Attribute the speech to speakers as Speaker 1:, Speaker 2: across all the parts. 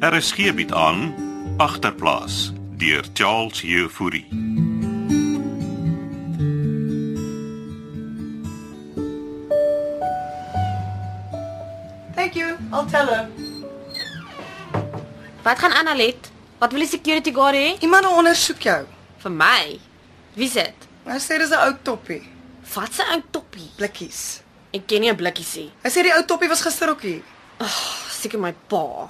Speaker 1: RSG bied Er aan agterplaas deur Charles Jefouri.
Speaker 2: Thank you. I'll tell her.
Speaker 3: Wat gaan aan Alet? Wat wil die security guard hê?
Speaker 2: Iemand ondersoek jou.
Speaker 3: Vir my. Wie sê dit?
Speaker 2: Hy sê dis 'n ou toppie,
Speaker 3: Wat 'n ou toppie.
Speaker 2: blikkies.
Speaker 3: Ek ken nie 'n blikkie sê.
Speaker 2: Hy sê die ou toppie was gister ook hier.
Speaker 3: Seker my pa.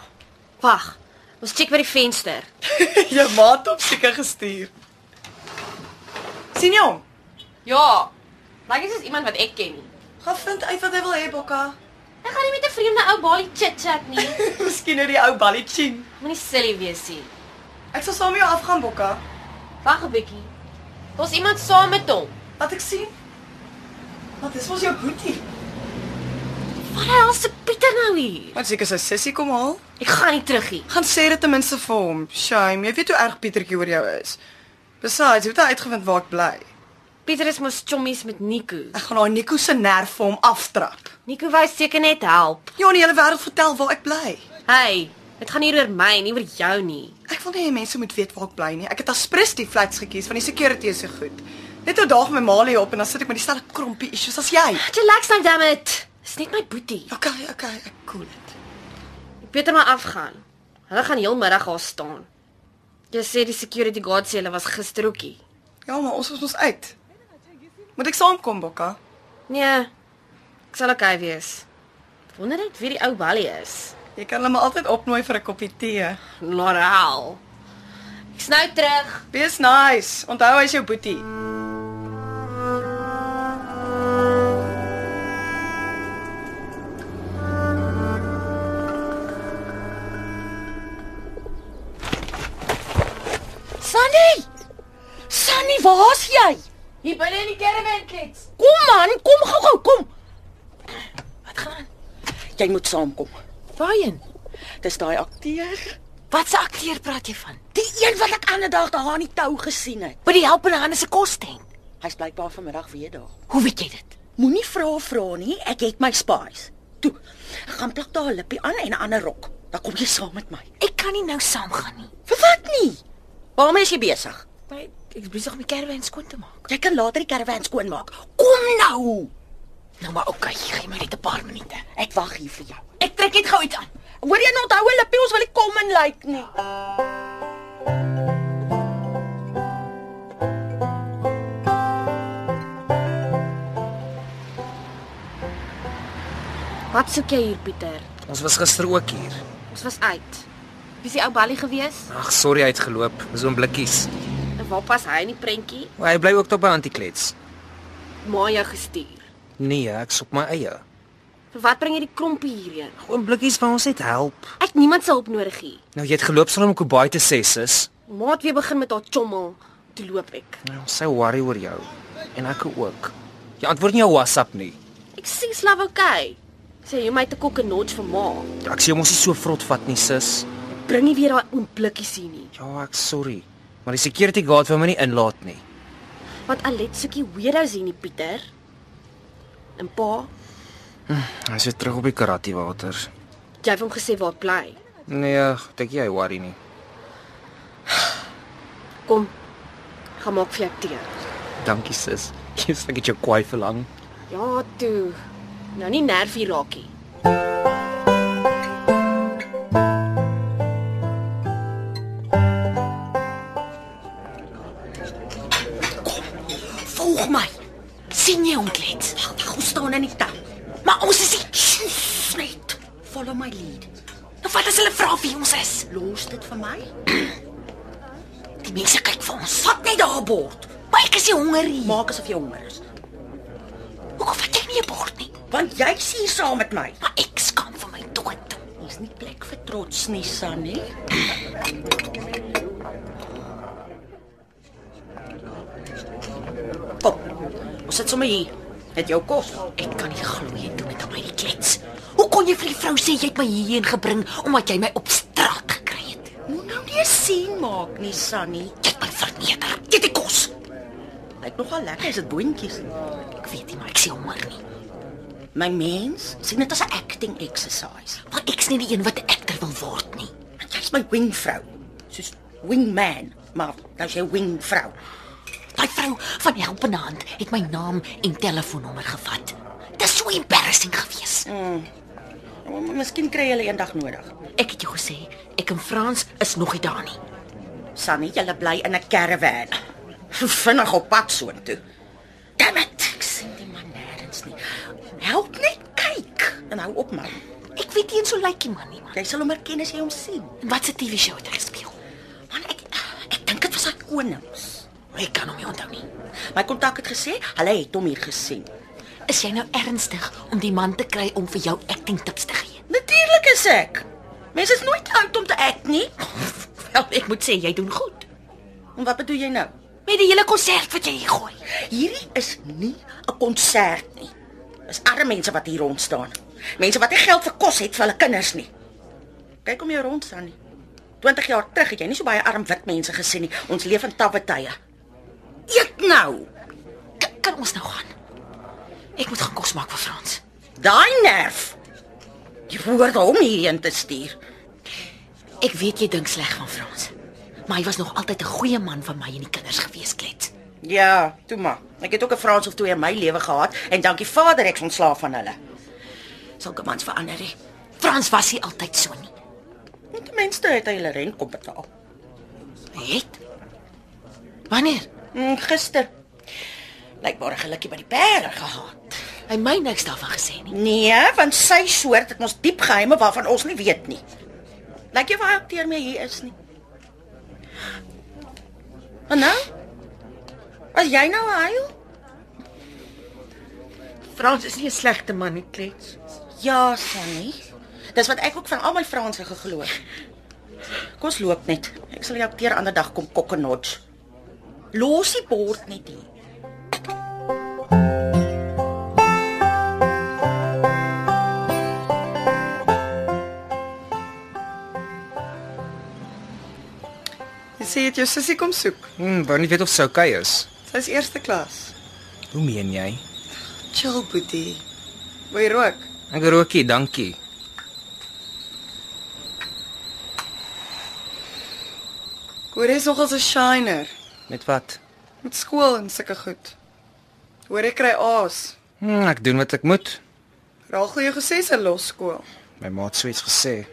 Speaker 3: Wag. Ons check by die venster.
Speaker 2: jou maat op seker gestuur. sien jy hom?
Speaker 3: Ja. Lyk dit is iemand wat ek ken nie.
Speaker 2: Gaan vind uit wat hy wil hê, Bokka.
Speaker 3: Ek gaan nie met 'n vreemde ou balie chit-chat nie.
Speaker 2: Miskien nou die ou balletjie.
Speaker 3: Moenie silly wees nie.
Speaker 2: Ek sal saam met jou afgaan, Bokka.
Speaker 3: Wag 'n bietjie. Daar's iemand saam met hom.
Speaker 2: Laat ek sien. Wat is mos jou boetie?
Speaker 3: Wat die hel se Pieter nou hier?
Speaker 2: Wat seker sy sussie kom haal?
Speaker 3: Ek gaan nie terug nie.
Speaker 2: Gaan sê dit ten minste vir hom. Shame, jy weet hoe erg Pietertjie oor jou is. Besides, hoe het hy uitgevind waar ek bly?
Speaker 3: Pieter is mos chommies met Nico.
Speaker 2: Ek gaan daai Nico se nerf vir hom aftrap.
Speaker 3: Nico wou seker net help.
Speaker 2: Ja, die hele wêreld vertel waar ek bly.
Speaker 3: Hey, dit gaan hier oor my, nie oor jou nie.
Speaker 2: Ek wil nie hê mense moet weet waar ek bly nie. Ek het aspres die flats gekies want die security is so goed. Net nou 'n dag met Malie op en dan sit ek met dieselfde krompie issues as jy.
Speaker 3: Relax nou, damn it. Dis net my boetie.
Speaker 2: Okay, okay, ek cool dit.
Speaker 3: Ek beter maar afgaan. Hulle gaan heelmiddag daar staan. Jy sê die security guard sê hulle was gister ookie.
Speaker 2: Ja, maar ons is ons uit. Moet ek saamkom, Bokka?
Speaker 3: Nee. Ek sal okay wees. Wonder net wie die ou balie is.
Speaker 2: Jy kan hulle maar altyd opnooi vir 'n koppie tee.
Speaker 3: Laurel. Ek snou terug.
Speaker 2: Wees nice. Onthou hy's jou boetie.
Speaker 4: Sunny! Sunny, waar's jy?
Speaker 3: Hier binne in die caravan klets.
Speaker 4: Kom man, kom gou-gou, kom. Wat gaan aan? Jy moet saamkom.
Speaker 3: Waarheen?
Speaker 4: Dis daai akteur,
Speaker 3: Wat se akteur praat jy van?
Speaker 4: die een wat ek ander dag daar aan die tou gesien het.
Speaker 3: By die helpende hande se kostent.
Speaker 4: Hy's blykbaar vanmiddag weer daar.
Speaker 3: Hoe weet jy dit?
Speaker 4: Moenie vra vra nie, ek het my spies. Toe, ek gaan plak daar 'n lippie aan en 'n ander rok. Dan kom jy saam met my.
Speaker 3: Ek kan nie nou saamgaan nie.
Speaker 4: Vir wat nie? Waarmee is jy besig?
Speaker 3: Maar ek is besig om die caravan skoon te maak.
Speaker 4: Jy kan later die karavaan skoonmaak. Kom nou.
Speaker 3: Nou maar okay, gee my net 'n paar minute.
Speaker 4: Ek wag hier vir jou.
Speaker 3: Ek trek net gou iets aan.
Speaker 4: Hoor jy nou onthou hulle lippie ons wil nie kom en lyk like nie.
Speaker 3: Wat soek jy hier, Pieter?
Speaker 5: Ons was gister ook hier.
Speaker 3: Ons was uit. Wie se ou balie gewees?
Speaker 5: Ag, sorry hy het geloop. Dis oom blikkies.
Speaker 3: En waar pas hy in die prentjie?
Speaker 5: O, hy bly ook tot by Antiklets.
Speaker 3: Ma jou gestuur.
Speaker 5: Nee, ek soek my eie.
Speaker 3: Vir wat bring jy die klompie hierheen?
Speaker 5: Oom blikkies wou ons net help.
Speaker 3: Ek niemand se hulp nodig hier.
Speaker 5: Nou jy het geloop sal hom Kobai te sê sis.
Speaker 3: Ma het weer begin met haar chommel. Toe loop ek.
Speaker 5: Nou, sy worry oor jou en ek ook. Jy antwoord nie jou WhatsApp nie.
Speaker 3: Ek sien slaap okay. Sê jy my te kok en notch vir ma.
Speaker 5: Ja, Ek sê jy moes nie so vrot vat nie sis.
Speaker 3: Bring nie weer daai oomblikkies hier nie.
Speaker 5: Ja, ek sorry. Maar die security guard wou my nie inlaat nie.
Speaker 3: Want Alet soekie weirdos hier nie, Pieter. En pa,
Speaker 5: Hy sit terug op die karate waters.
Speaker 3: jy het hom gesê waar hy bly.
Speaker 5: Nee, ek dink jy worry nie.
Speaker 3: Kom. Gaan maak vir jou tee.
Speaker 5: Dankie sis. Jy's net jou kwaai verlang.
Speaker 3: Ja, toe. Nou nie nervie raakie.
Speaker 4: Volg my. sien jy hom klets? Wag, wag, ons staan in die tou. Maar ons is nie Sssst, net. Follow my lead.
Speaker 6: Nou wat as hulle vra wie ons is?
Speaker 4: Los dit vir my.
Speaker 6: Die mense kyk vir ons.
Speaker 4: Vat net daar 'n bord.
Speaker 6: Maar ek is nie honger nie.
Speaker 4: Maak asof jy honger is.
Speaker 6: Hoekom vat jy nie 'n bord nie?
Speaker 4: Want jy sien saam met my.
Speaker 6: Maar ek skaam vir my dood.
Speaker 4: Ons nie plek vir trots nie, Sunny. Kom. Ons sit sommer hier. Het jou kos.
Speaker 6: Ek kan nie glo jy doen dit aan my die klets. Hoe kon jy vir die vrou sê jy het my hierheen gebring omdat jy my op straat gekry het?
Speaker 4: Moet nou nie 'n sien maak nie, Sunny.
Speaker 6: Jy het my verneder. Jy het die kos.
Speaker 4: Lyk nogal lekker, is dit boontjies?
Speaker 6: Ek weet nie, maar ek sien honger nie.
Speaker 4: My mens, sien dit as 'n acting exercise.
Speaker 6: Want ek's nie die een wat 'n akter wil word nie.
Speaker 4: Want jy Dis my wingvrou. Soos wingman, maar nou sy wingvrou.
Speaker 6: Daai vrou van die helpende hand het my naam en telefoonnommer gevat. Dis so embarrassing gewees.
Speaker 4: Maar maar Miskien kry hulle eendag nodig.
Speaker 6: Ek het jou gesê, ek en Frans is nog nie daar nie.
Speaker 4: Sannie, jy bly in 'n caravan. Vinnig op pad soontoe. Damn it, ek sien die man nêrens nie. Help net kyk en hou op man.
Speaker 6: Ek weet nie eens hoe lyk die man nie, man.
Speaker 4: Jy sal hom herken as jy hom sien.
Speaker 6: En wat se TV-show het hy gespeel?
Speaker 4: Man, ek ek dink dit was hy konings.
Speaker 6: Ek kan hom nie onthou nie.
Speaker 4: My kontak het gesê hulle het hom hier gesien.
Speaker 6: Is jy nou ernstig om die man te kry om vir jou acting tips te gee?
Speaker 4: Natuurlik is ek. Mense is nooit oud om te act nie.
Speaker 6: Wel, ek moet sê jy doen goed.
Speaker 4: En wat bedoel jy nou?
Speaker 6: Met die hele konsert wat jy hier gooi.
Speaker 4: Hierdie is nie 'n konsert nie. Dis arme mense wat hier rond staan. Mense wat nie geld vir kos het vir hulle kinders nie. Kyk om jou rond staan nie. 20 jaar terug het jy nie so baie arm wit mense gesien nie. Ons leef in tawwe tye. Eet nou.
Speaker 6: K kan ons nou gaan? Ek moet gaan kos maak vir Frans.
Speaker 4: Daai nerf. Jy hoor hom hierheen te stuur.
Speaker 6: Ek weet jy dink sleg van Frans, maar hy was nog altyd 'n goeie man vir my en die kinders gewees, Klets.
Speaker 4: Ja, toe maar. Ek het ook 'n Frans of twee in my lewe gehad en dankie Vader ek's ontslaaf van hulle.
Speaker 6: Sulke mans verander nie. Frans was nie altyd so nie.
Speaker 4: En ten minste het hy hulle rent kom betaal.
Speaker 6: Hy het Wanneer?
Speaker 4: Mm, gister. Lyk maar 'n gelukkie by die perde gehad.
Speaker 6: Hy my niks daarvan gesê nie.
Speaker 4: Nee, want sy soort het ons diep geheime waarvan ons nie weet nie. Lyk jy waar akteur mee hier is nie? En nou? Was jy nou huil?
Speaker 2: Frans is nie 'n slegte man nie, klets.
Speaker 4: Ja, Sunny. Dis wat ek ook van al my Franse geglo het. Kom ons loop net. Ek sal jou akteur ander dag kom kokkenodge. Los die bord net hier.
Speaker 2: Jy sê jy het jou sussie kom soek.
Speaker 5: Hm, wou nie weet of sy okay is.
Speaker 2: Sy's eerste klas.
Speaker 5: Hoe meen jy?
Speaker 2: Chill, Boetie. Wil jy rook?
Speaker 5: Ek rookie, dankie.
Speaker 2: Hoor jy's nogal 'n shiner
Speaker 5: Met wat?
Speaker 2: met skool en sulke goed. Hoor jy kry A's.
Speaker 5: Hm, ek doen wat ek moet.
Speaker 2: Rachel het jou gesê sy los skool.
Speaker 5: My ma het so iets gesê.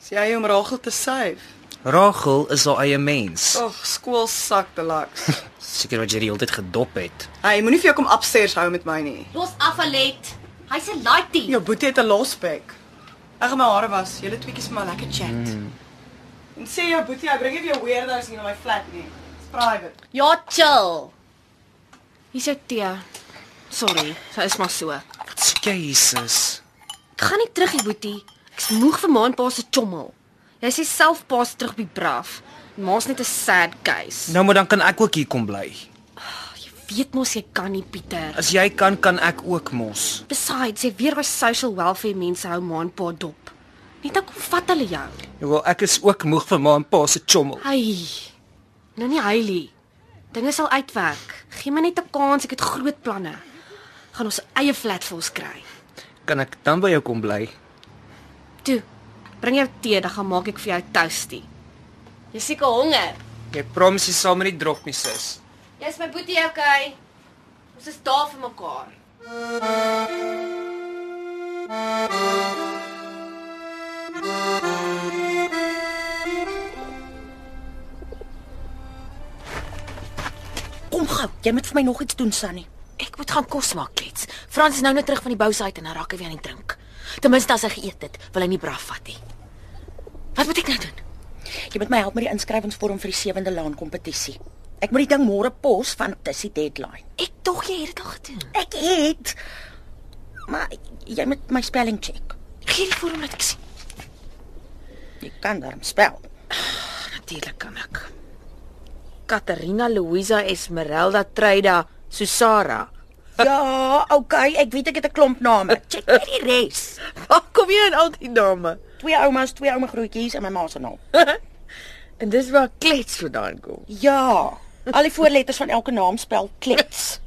Speaker 2: Dis jy om Rachel te save.
Speaker 5: Rachel is haar eie mens.
Speaker 2: Ag, skool sak te laks.
Speaker 5: Seker wat jy die hele tyd gedop het.
Speaker 2: Hy moenie vir jou kom upstairs hou met my nie.
Speaker 3: Los af, Alet. Hy's 'n laaitie.
Speaker 2: Jou boetie het 'n losbek. Ek gaan my hare was. Julle tweeetjies moet maar lekker chat. Mm. En sê jou boetie, hy bring nie weer weirdos hier na my flat nie. It's private.
Speaker 3: Ja, chill. Hier's jou tee. Sorry, sy is maar so. Ek
Speaker 5: Wat sê jy, Jesus?
Speaker 3: gaan nie terug hier, Boetie. Ek's moeg vir ma en pa se chommel. Jy sê self pa's terug by Braaf. Ma's net 'n sad case.
Speaker 5: Nou maar dan kan ek ook hier kom bly.
Speaker 3: Jy weet mos jy kan nie, Pieter.
Speaker 5: As jy kan, kan ek ook mos.
Speaker 3: Besides, jy weet daai social welfare mense hou ma en pa dop. Net dan kom vat hulle jou.
Speaker 5: Wel, ek is ook moeg vir ma en pa se chommel.
Speaker 3: Ai. Nou nie huilie. Dinge sal uitwerk. Gee my net 'n kans, ek het groot planne. Gaan ons eie flat vir ons kry.
Speaker 5: Kan ek dan by jou kom bly?
Speaker 3: Toe. Bring jou tee, dan gaan maak ek vir jou toastie. Jy seker honger.
Speaker 5: Jy promise jy sal my nie drog nie, sis.
Speaker 3: Jy's my boetie, okay? Ons is daar vir mekaar.
Speaker 4: Kom gou, jy moet vir my nog iets doen, Sunny.
Speaker 6: Ek moet gaan kos maak, Klets. Frans is nou net terug van die bousite en hy raak weer aan die drink. Ten minste as hy geëet het, wil hy nie braaf vat nie. Wat moet ek nou doen?
Speaker 4: Jy moet my help met die inskrywingsvorm vir die sewende laan kompetisie. Ek moet die ding môre pos van Tissie deadline.
Speaker 6: Ek dog jy het dit al gedoen.
Speaker 4: Ek het maar jy moet my spelling check.
Speaker 6: Gee die vorm laat ek sien.
Speaker 4: Jy kan darm spel.
Speaker 3: Natuurlik kan ek. Katerina Luisa Esmeralda Treida Susara.
Speaker 4: Ja, okay, ek weet ek het 'n klomp name. Check net die res.
Speaker 3: Waar kom jy aan al die name?
Speaker 4: Twee oumas, twee ouma grootjies en my ma se naam.
Speaker 3: En dis waar klets vandaan kom.
Speaker 4: Ja, al die voorletters van elke naam spel klets.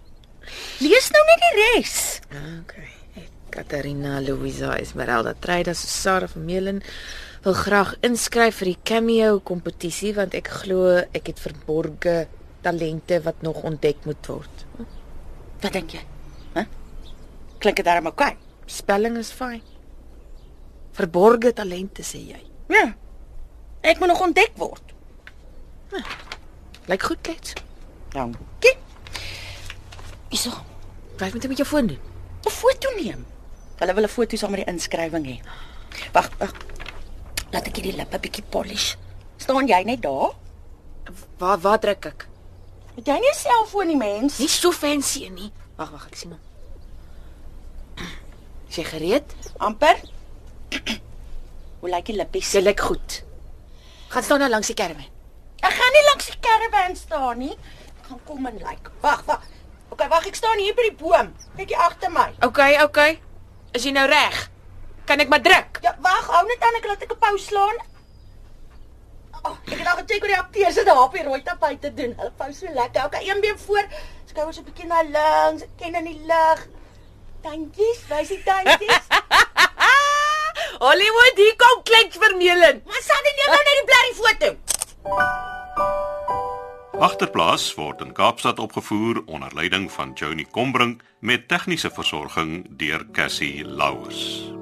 Speaker 4: Lees nou net die res.
Speaker 7: Okay. Katarina Luisa Esmeralda Treida Susara van Meulen
Speaker 6: wil graag inskryf vir die Cameo kompetisie want ek glo ek het verborgde talente wat nog ontdek moet word.
Speaker 4: Wat dink jy? Hæ? Klink dit darem oukei?
Speaker 6: Spelling is fyn. Verborgde talente sê jy.
Speaker 4: Ja. Ek moet nog ontdek word.
Speaker 6: Lyk goed, klets.
Speaker 4: Dankie. Hyso,
Speaker 6: Wat moet ek met jou foon doen?
Speaker 4: 'n foto neem. Hulle wil 'n foto saam met die inskrywing hê. Wag, wag. Laat ek hierdie lippe bietjie polish. Staan jy net daar?
Speaker 6: Waar waar druk ek?
Speaker 4: Het jy nie 'n selfoon nie, mens?
Speaker 3: Hm?
Speaker 6: Nie so fancy nie. Wag, wag, ek sien hom. Is jy gereed?
Speaker 4: Amper. Hoe lyk die lippies?
Speaker 6: Jy lyk goed. Gaan staan nou langs die kerm.
Speaker 4: Ek gaan nie langs die karavaan staan nie. Ek gaan kom en lyk. Like. Wag, wag. OK, wag, ek staan hier by die boom. Kyk hier agter my.
Speaker 6: OK, OK. Is jy nou reg? Kan ek maar druk?
Speaker 4: Ja, wag, hou net aan, ek laat ek 'n pau slaan. Oh, ek het al gecheck hoe die akteurs dit daar op die rooi tapijt te doen. Hulle pau so lekker. OK, een been voor, skouers 'n bietjie na links, ken in die lug. Tandjies, wys die tandjies.
Speaker 6: Hollywood, hier kom klink vermeling.
Speaker 4: maar Sandy neem nou net die blerrie foto.
Speaker 1: Agterplaas word in Kaapstad opgevoer onder leiding van Johnny Combrink met tegniese versorging deur Cassie Louws.